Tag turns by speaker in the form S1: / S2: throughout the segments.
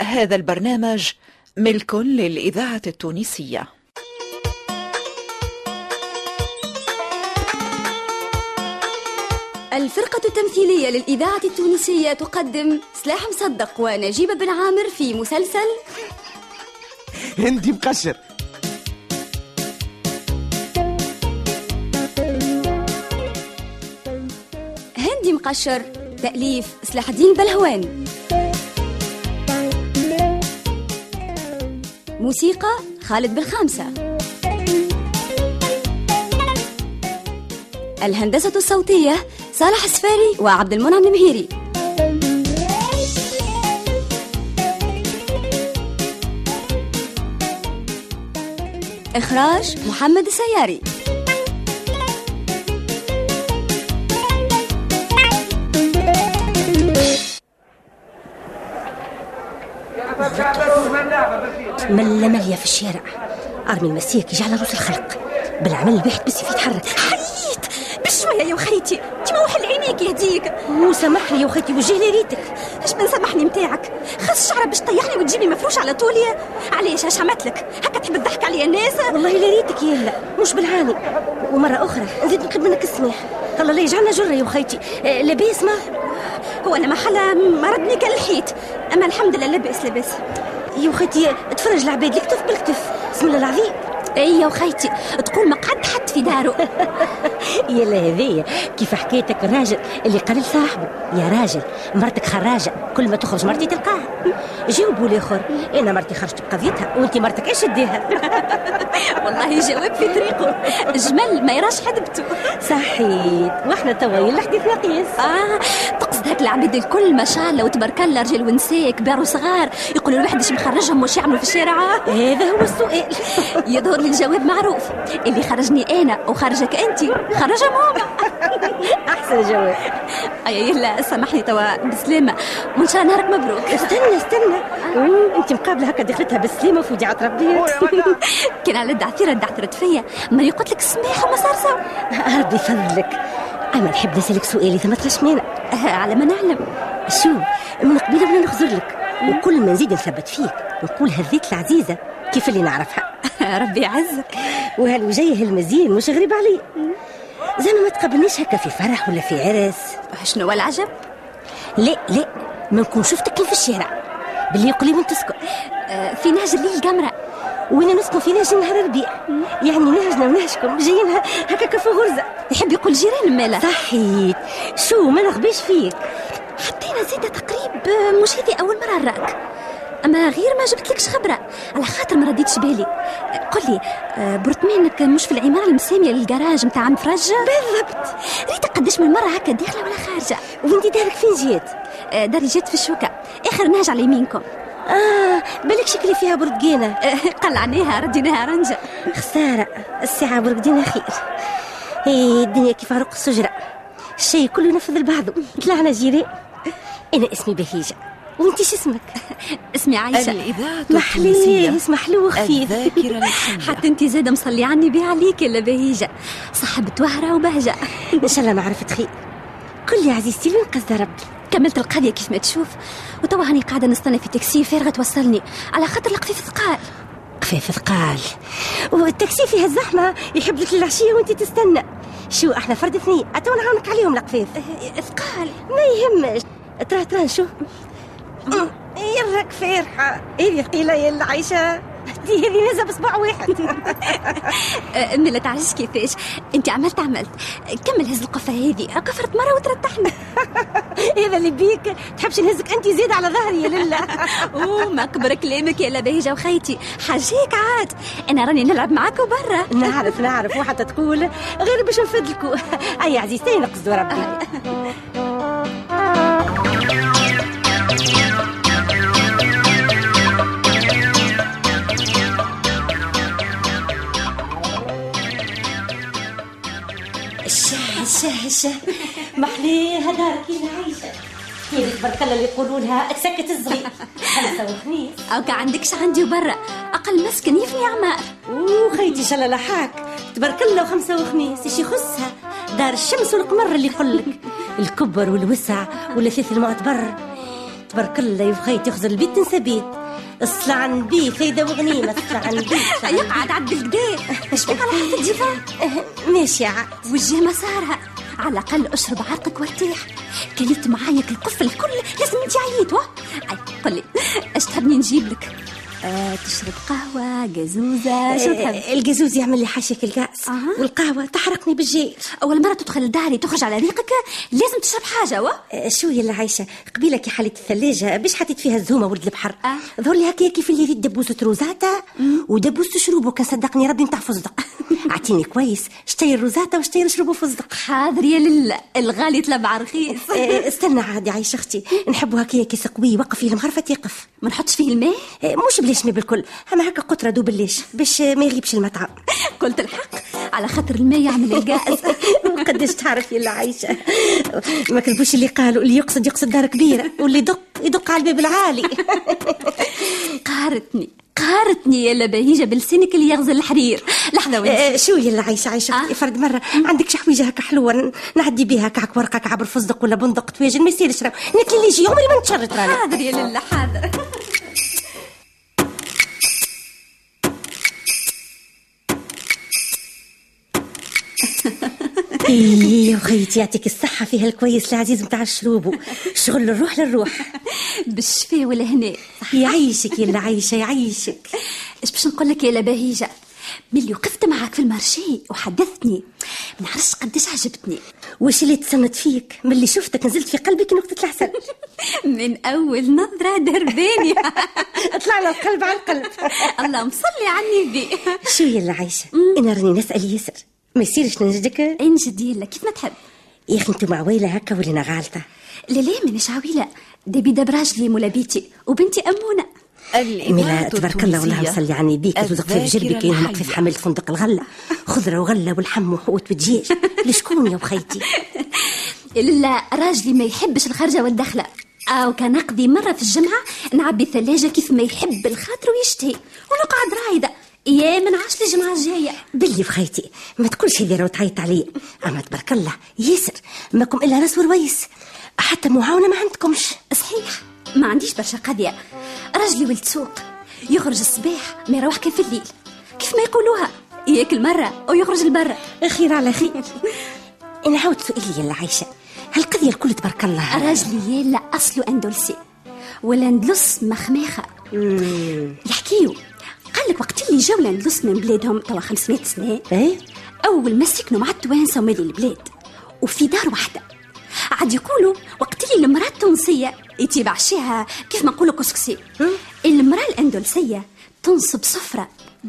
S1: هذا البرنامج ملك للإذاعة التونسية
S2: الفرقة التمثيلية للإذاعة التونسية تقدم سلاح مصدق ونجيب بن عامر في مسلسل
S3: هندي مقشر
S2: هندي مقشر تأليف سلاح الدين بلهوان موسيقى خالد بالخامسة الهندسة الصوتية صالح السفاري وعبد المنعم المهيري إخراج محمد السياري
S4: ملة ملية في الشارع أرمي المسيك يجي على روس الخلق بالعمل الواحد بس في يتحرك حييت بشوية يا وخيتي تموح عينيك يهديك مو سامحني يا وخيتي وجه لي ريتك اش بن سامحني متاعك خاص شعرة باش طيحني وتجيبني مفروش على طولي علاش اش عملت لك هكا تحب تضحك عليا الناس والله لا ريتك يلا مش بالعاني ومرة أخرى نزيد نطلب منك السماح الله لا يجعلنا جرة يا وخيتي آه، لاباس ما هو أنا محلة مرضني كان الحيط أما الحمد لله لاباس لاباس يا وخيتي تفرج العباد الكتف بالكتف بسم الله العظيم اي يا وخيتي تقول ما قعد حد في داره يلا هذايا كيف حكايتك الراجل اللي قال لصاحبه يا راجل مرتك خراجه كل ما تخرج مرتي تلقاها جاوبوا الاخر انا مرتي خرجت بقضيتها وانت مرتك ايش تديها
S2: والله جواب في طريقه جمل ما يراش حدبته
S4: صحيت واحنا توا يلا حديثنا قياس
S2: آه تقصد هاك العباد الكل ما شاء الله وتبارك الله رجال ونساء كبار وصغار يقولوا الواحد اش مخرجهم واش يعملوا في الشارع
S4: هذا هو السؤال
S2: يظهر لي الجواب معروف اللي خرجني انا وخرجك انت خرجهم هما
S4: احسن جواب
S2: اي يلا سامحني توا بسلامه وان شاء الله نهارك مبروك
S4: استنى استنى
S2: أمم،
S4: مم، انت مقابله هكا دخلتها بالسليمه وفي وديعه ربي
S2: كان على الدعثيره الدعثرت فيا ما قلت لك سماح وما صار سوا
S4: ربي يفضلك اما نحب نسالك سؤال اذا ما تغش مانع
S2: آه، على ما نعلم
S4: شو من قبيله ولا نخزر لك وكل ما نزيد نثبت فيك نقول هذيك العزيزه كيف اللي نعرفها
S2: ربي يعزك
S4: وهالوجيه المزيان مش غريب علي زعما ما تقابلنيش هكا في فرح ولا في عرس
S2: شنو هو العجب
S4: لا لا ما نكون شفتك كي في الشارع باللي يقول لي وين تسكن
S2: آه، في نهج الليل قمره
S4: وين نسكن في نهج نهار الربيع يعني نهجنا ونهجكم جايين ه- هكاك في غرزه
S2: يحب يقول جيران مالا
S4: صحيت شو ما نخبيش فيك
S2: حتى انا زيد تقريب آه، مش هذه اول مره نراك اما غير ما جبتلكش خبره على خاطر ما رديتش بالي آه، قل لي آه، برطمانك مش في العماره المساميه للكراج نتاع مفرج بالضبط ريت قداش من مره هكا داخله ولا خارجه
S4: وانت دارك فين جيت
S2: آه، داري جات في الشوكه اخر نهج على يمينكم
S4: اه بالك شكلي فيها برتقانه
S2: آه، قلعناها رديناها رنجه
S4: خسارة الساعة برقدينا خير إيه الدنيا كيف عرق السجرة الشيء كله نفذ لبعضه طلعنا جيران أنا اسمي بهيجة وانت شو اسمك؟
S2: اسمي عايشه
S1: الإذاعة
S4: محلي
S1: التونسية
S4: اسم حلو وخفيف
S1: الذاكرة الحية
S2: حتى انت زاده مصلي عني بيه عليك الا بهيجه صاحبة وهره وبهجه
S4: إن شاء الله معرفة خير قل لي عزيزتي وين قصد ربي؟
S2: كملت القضية كيف ما تشوف وتوا هاني قاعدة نستنى في تاكسي فارغة توصلني على خاطر القفيف ثقال
S4: قفاف ثقال والتاكسي فيها الزحمة يحب لك العشية وانت تستنى شو احنا فرد اثنين أتوا نعاونك عليهم القفاف
S2: أه،
S4: ثقال ما يهمش ترى ترى نشوف يرك فرحة هذه ثقيلة يا العيشة دي هذه نازة بصبع واحد
S2: أه، أمي لا تعرفش كيفاش أنت عملت عملت أه، كمل هز القفة هذه قفرت مرة وترتحنا
S4: هذا اللي بيك تحبش نهزك أنت زيد على ظهري يا لله
S2: أوه ما كبر كلامك يا لبهجة وخيتي حاجيك عاد أنا راني نلعب معاك برا
S4: نعرف نعرف وحتى تقول غير باش نفدلكوا أي عزيزتي نقصدوا ربي الشاه الشاه الشاه محليها دارك يا عايشة هذيك برك الله اللي يقولوا لها تسكت الصغير خمسة وخميس
S2: أو عندكش عندي برا أقل مسكن يفني عمار
S4: اوه خيتي شلا لحاك تبارك الله وخمسة وخميس ايش يخصها دار الشمس والقمر اللي يقولك الكبر والوسع واللفيف المعتبر تبارك الله يا خيتي خزر البيت تنسى بيت اصلع عن بيه سيدة وغنيمة اصلع عن بيه
S2: يقعد عبد القدا اش بك على حتى الدفاع
S4: ماشي عاد
S2: وجه مسارها على الاقل اشرب عرقك وارتاح كليت معايك القفل الكل لازم انت عييت واه اي قل لي اش تحبني نجيب لك آه تشرب قهوه جازوزه شو تحب
S4: آه، الجازوز يعمل لي حاشك الكاس
S2: أها.
S4: والقهوة تحرقني بالجيل
S2: اول مره تدخل لداري تخرج على ريقك لازم تشرب حاجه واه
S4: آه، شو هي اللي عايشة قبيلة كي حليت الثلاجة باش حطيت فيها الزومة ورد البحر
S2: آه.
S4: ظهر لي هكا كيف اللي ريت دبوسة روزاتا ودبوسة شروب وكان صدقني ربي نتاع فزدق اعطيني كويس شتي الروزاتا وشتي نشربوا فزدق
S2: حاضر يا لله الغالي تلبع رخيص
S4: آه، استنى عادي عايشة اختي نحبوا هكا كيس قوي يوقف فيه المغرفة تيقف
S2: ما نحطش فيه الماء
S4: آه، مش بلاش مي بالكل اما هكا قطرة دو بلاش باش آه، ما يغيبش المطعم
S2: قلت الحق على خاطر الماء يعمل الجاز
S4: قداش تعرف يلا عايشة ما كذبوش اللي قالوا اللي يقصد يقصد دار كبيرة واللي يدق يدق على الباب العالي
S2: قهرتني قهرتني يا لبهيجه بلسانك اللي يغزل الحرير لحظه وين
S4: آه، شو يلا عايشة عايشة
S2: آه.
S4: فرد مرة عندك شي حويجة هكا حلوة ن- نعدي بها كعك ورقة كعبر فزدق ولا بندق تواجد ما يصيرش راه نتلي اللي يجي عمري ما نتشرط راني
S2: حاضر يا لله حاضر
S4: ايه وخيتي يعطيك الصحة فيها الكويس العزيز متاع الشروب شغل الروح للروح
S2: بالشفاء والهنا
S4: يعيشك يلا عايشة يعيشك
S2: اش باش نقول لك يا لبهيجه ملي وقفت معاك في المارشي وحدثتني ما نعرفش قداش عجبتني
S4: واش اللي تسمت فيك من اللي شفتك نزلت في قلبك نقطة العسل
S2: من اول نظره درباني
S4: اطلع لنا القلب على القلب
S2: اللهم صلي على النبي
S4: شو يلا عايشة أنا راني نسأل ياسر ما يصيرش نجدك يا
S2: انجد يلا كيف ما تحب
S4: أخي أنتم عويلة هكا ولينا غالطة
S2: لا لا مانيش عويله دبي دبراجلي مولا بيتي وبنتي امونه
S4: ملا
S1: الإذاعة
S4: تبارك الله والله
S1: التونسية.
S4: وصلي عني بيك وتزق في
S1: الذاكرة
S4: جربك يهمك
S1: الحية.
S4: في حمل فندق الغلة خضرة وغلة والحم وحوت ودجاج لشكون يا وخيتي
S2: لا راجلي ما يحبش الخرجه والدخله او كان نقضي مره في الجمعه نعبي الثلاجه كيف ما يحب الخاطر ويشتهي ونقعد رايده يا من عاش الجمعه الجايه
S4: باللي وخيتي ما تقولش ديرة وتعيط علي أما تبارك الله ياسر ماكم إلا راس ورويس حتى معاونة ما عندكمش
S2: صحيح ما عنديش برشا قضية راجلي ولد سوق يخرج الصباح ما يروح كيف الليل كيف ما يقولوها ياكل مرة ويخرج لبرا
S4: خير على خير نعاود سؤالي يا عايشة هالقضية الكل تبارك الله
S2: راجلي يا لا أصله أندلسي والاندلس مخماخة يحكيو قال لك وقت اللي جاو الاندلس من بلادهم توا 500 سنة
S4: إيه
S2: أول ما سكنوا مع التوانسة ومالي البلاد وفي دار واحدة عاد يقولوا وقت اللي المرأة التونسية يتيب عشيها كيف ما نقولوا كسكسي المرأة الأندلسية تنصب سفرة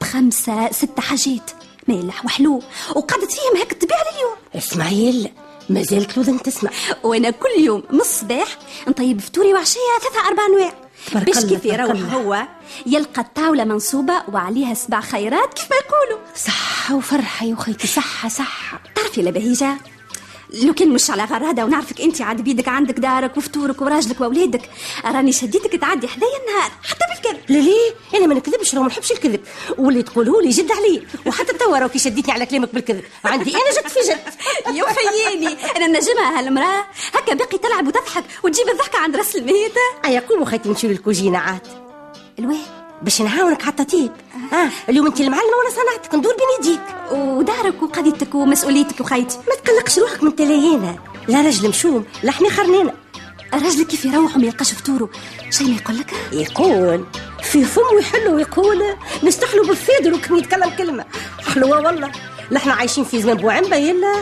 S2: بخمسة ستة حاجات مالح وحلو وقعدت فيهم هيك تبيع لليوم
S4: اسماعيل ما زالت لودن تسمع
S2: وانا كل يوم من الصباح نطيب فطوري وعشيه ثلاثة اربع انواع
S4: تبارك
S2: باش
S4: الله،
S2: كيف
S4: تبارك
S2: يروح
S4: الله.
S2: هو يلقى الطاوله منصوبه وعليها سبع خيرات كيف ما يقولوا
S4: صحة وفرحة يا خيتي صحة صحة
S2: تعرفي يا بهيجة لو كان مش على غرادة ونعرفك انت عاد بيدك عندك دارك وفطورك وراجلك واولادك راني شديتك تعدي حدايا النهار حتى بالكذب
S4: ليه انا ما نكذبش راه ما نحبش الكذب واللي تقوله لي جد علي وحتى توا راكي شديتني على كلامك بالكذب عندي انا جد في جد
S2: يا خيالي انا نجمها هالمراه هكا باقي تلعب وتضحك وتجيب الضحكه عند راس الميت
S4: ايا قوموا خيتي نمشيو للكوجينه عاد
S2: الواه
S4: باش نعاونك حتى طيب
S2: آه.
S4: اه اليوم انت المعلمه وانا صنعتك ندور بين يديك
S2: ودارك وقضيتك ومسؤوليتك وخيتي
S4: ما تقلقش روحك من تلاهينا لا راجل مشوم لا حمي خرنينا
S2: راجلك كيف يروح وما يلقاش فطوره شي ما يقول لك
S4: يقول في فمه يحل ويقول نستحلو بالفيدر وكان يتكلم كلمه حلوه والله لا احنا عايشين في زمان بوعنبه يلا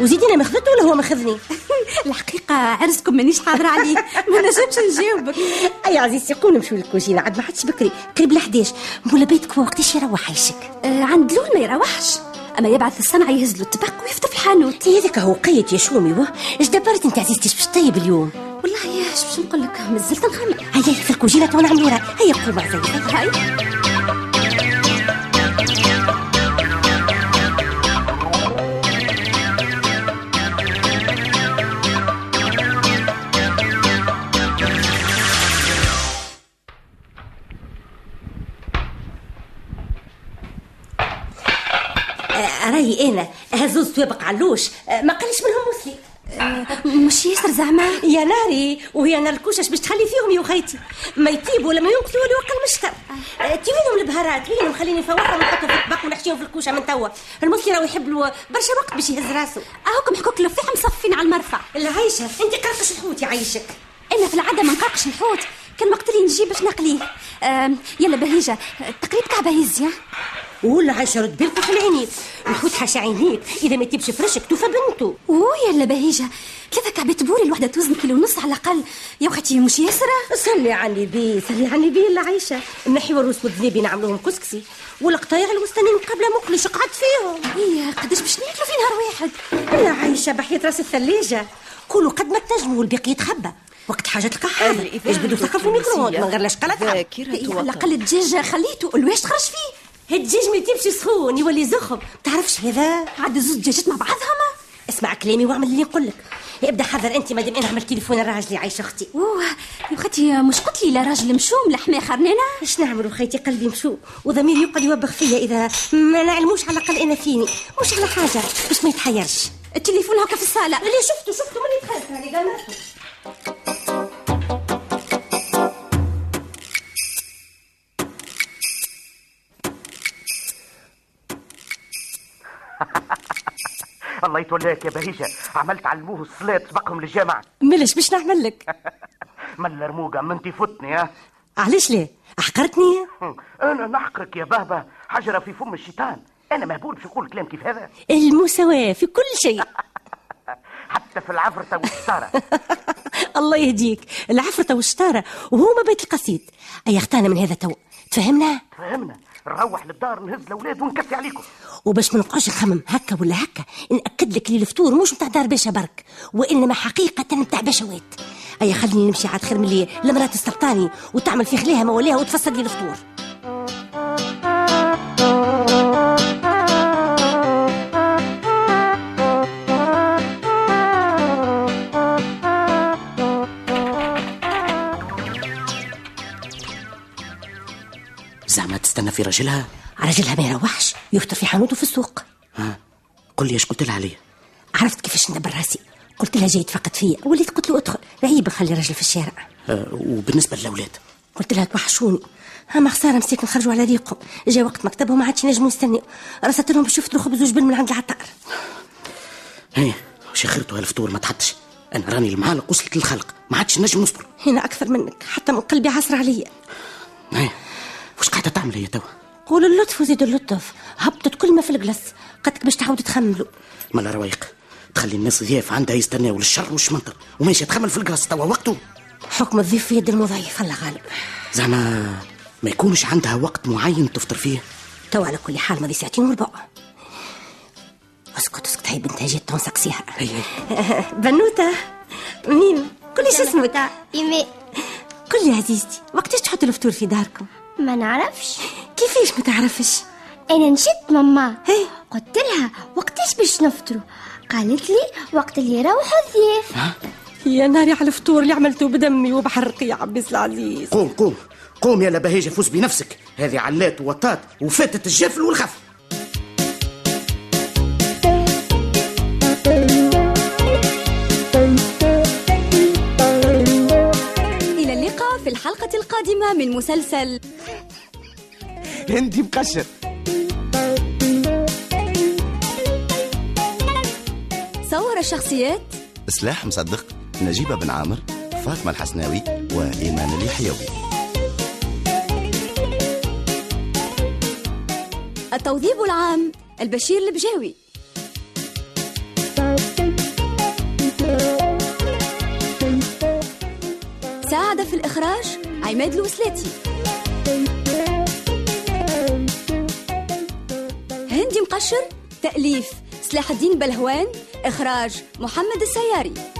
S4: وزيدينا ما خذته ولا هو ما خذني
S2: الحقيقه عرسكم مانيش حاضره عليه ما نجمش نجاوبك
S4: اي عزيزتي قوم نمشيو للكوجينه عاد ما حدش بكري قريب ل 11 مولا بيتك هو وقتاش يروح عايشك
S2: آه، عند لون ما يروحش اما يبعث الصنعه يهز له الطبق ويفتح الحانوت
S4: انت إيه هذاك هو قيت يا شومي واه اش دبرت انت عزيزتي اش باش طيب اليوم
S2: والله يا اش باش نقول لك مازلت نخمم
S4: هيا هيا في الكوجينه تو نعملو راه هيا قوم عزيزتي
S2: هاي
S4: اه، آه، راهي انا هزوز توابق علوش آه، ما قالش اه، منهم مسلي
S2: اه، مش ياسر زعما
S4: يا ناري وهي نار الكوشش باش تخلي فيهم يا وخيتي ما يطيبوا ولا ما ينقصوا ولا يوقع المشتر تي وينهم البهارات وينهم خليني نفورهم ونحطهم في الطبق ونحشيهم في الكوشه من توا المثلي راهو يحب له برشا وقت باش يهز راسه
S2: هاكم حكوك لفاح مصفين على المرفع
S4: العيشه انت قرقش الحوت يعيشك
S2: انا في العاده ما نقرقش الحوت كان وقت اللي نجي باش
S4: إيه،
S2: نقليه آم، يلا بهيجه تقريب كعبه هزي ها؟
S4: ولا عايشه رد بالك في العينيك الحوت حاشا عينيك اذا ما تبش فرشك توفى بنته
S2: اوه يلا بهيجه ثلاثه كعبات بوري الوحده توزن كيلو ونص على الاقل يا وختي مش ياسره
S4: صلي على النبي صلي على النبي اللي عايشه نحيو الروس والذنيبي نعملوهم كسكسي والقطايع الوسطانيين قبل مقلش قعد فيهم
S2: هي قداش باش ناكلوا في نهار واحد
S4: يا عايشه بحيه راس الثلاجه كلوا قد ما تنجموا والباقي يتخبى وقت حاجه تلقى حاجه
S1: الإذاعة
S4: ايش بدو تلقى في الميكروويف من غير لا شقلة تحب.
S1: ذاكرة
S2: إيه، على
S1: وطن.
S2: الاقل الدجاج خليته الواش خرج فيه
S4: الدجاج ما يطيبش سخون يولي زخم تعرفش هذا
S2: عاد زوج دجاجات مع بعضها ما
S4: اسمع كلامي واعمل اللي نقول لك ابدا حذر انت مادام انا عملت تليفون لراجلي عايشه اختي
S2: اوه يا اختي مش قلت لي لا راجل مشوم لا حماه خرنانه
S4: اش نعمل خيتي قلبي مشو وضميري يقعد يوبخ فيا اذا ما نعلموش على الاقل انا فيني مش على حاجه باش ما يتحيرش
S2: التليفون هكا في الصاله
S4: اللي شفته شفته ماني دخلت يعني قال
S5: الله يتولاك يا بهيجة عملت علموه الصلاة سبقهم للجامع
S4: ملش باش نعمل لك
S5: من الرموقة من انت فتني ها
S4: علاش ليه احقرتني
S5: هم. انا نحقرك يا بابا حجرة في فم الشيطان انا مهبول باش نقول كلام كيف هذا
S4: المساواه في كل شيء
S5: حتى في العفرة والستارة
S4: الله يهديك العفرة والشطارة وهو ما بيت القصيد أي اختانا من هذا تو تفهمنا
S5: فهمنا نروح للدار نهز الاولاد ونكفي عليكم
S4: وباش ما نبقاش نخمم هكا ولا هكا نأكد لك اللي الفطور مش متاع دار باشا برك وإنما حقيقة متاع باشوات أي خليني نمشي عاد خير من اللي المرأة تستلطاني وتعمل في خليها مواليها وتفسد لي الفطور
S6: زعما تستنى في راجلها
S4: راجلها ما يروحش يفطر في حانوته في السوق
S6: ها قل لي اش قلت لها عليا
S4: عرفت كيفاش ندبر راسي قلت لها جاي تفقد فيا وليت قلت له ادخل عيب نخلي راجل في الشارع
S6: آه، وبالنسبه للاولاد
S4: قلت لها توحشوني اما خساره مسيك نخرجوا على ريقهم جا وقت مكتبهم ما عادش ينجموا يستنوا رصت لهم باش يفطروا خبز وجبن من عند العطار
S6: هي وش خيرته هالفطور ما تحطش انا راني المعالق وصلت للخلق ما عادش نجم نصبر
S4: هنا اكثر منك حتى من قلبي عسر عليا
S6: هي وش قاعده تعمل هي توا
S4: قولوا اللطف وزيد اللطف هبطت كل ما في الجلس قدك باش تعاودوا تخملوا
S6: مالا روايق تخلي الناس ضياف عندها يستناو للشر والشمنطر وماشي تخمل في القراص توا وقته
S4: حكم الضيف في يد المضيف الله غالب
S6: زعما ما يكونش عندها وقت معين تفطر فيه
S4: توا على كل حال ماضي ساعتين وربع اسكت اسكت هاي بنتها جات تنسقسيها
S6: هي هي
S4: بنوتة ميم كل شي اسمك
S7: إيماء
S4: قل لي عزيزتي وقتاش تحطوا الفطور في داركم
S7: ما نعرفش
S4: كيفاش ما تعرفش
S7: أنا نشد ماما
S4: هي.
S7: قلت لها وقتاش باش نفطروا قالت لي وقت اللي يروحوا الضياف
S4: يا ناري على الفطور اللي عملته بدمي وبحرقي يا عباس العزيز
S6: قوم قوم قوم يا لبهيجه فوز بنفسك هذه علات ووطات وفاتت الجفل والخف
S2: الى اللقاء في الحلقه القادمه من مسلسل
S3: هندي مقشر
S2: صور الشخصيات
S8: سلاح مصدق نجيبة بن عامر فاطمة الحسناوي وإيمان اليحيوي
S2: التوظيف العام البشير البجاوي ساعد في الإخراج عماد الوسلاتي هندي مقشر تأليف سلاح الدين بلهوان إخراج محمد السياري